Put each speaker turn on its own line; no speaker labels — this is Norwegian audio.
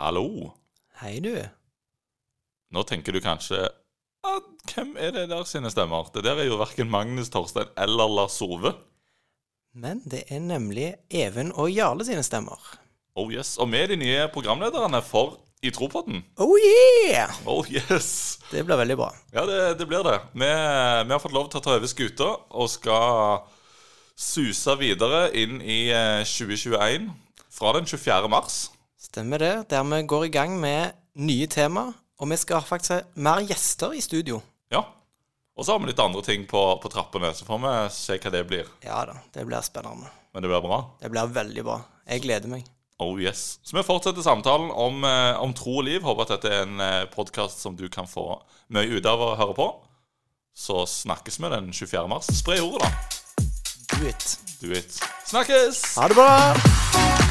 Hallo?
Hei, du.
Nå tenker du kanskje «Ah, Hvem er det der sine stemmer? Det der er jo verken Magnus, Torstein eller Lars Ove.
Men det er nemlig Even og Jarle sine stemmer.
Oh yes. Og vi er de nye programlederne for I Tropodden.
Oh yeah!
Oh yes!
Det blir veldig bra.
Ja, det, det blir det. Vi, vi har fått lov til å ta over skuta og skal suse videre inn i eh, 2021 fra den 24. mars.
Stemmer det. Der vi går i gang med nye tema, og vi skal faktisk ha mer gjester i studio.
Ja. Og så har vi litt andre ting på, på trappene, så får vi se hva det blir.
Ja da, det blir spennende.
Men det blir bra.
Det blir veldig bra. Jeg gleder meg.
Oh yes. Så vi fortsetter samtalen om, eh, om tro og liv. Håper at dette er en eh, podkast som du kan få mye ut av å høre på. Så snakkes vi den 24. mars. Spre ordet, da.
Do it.
Do it. Snakkes!
Ha det bra!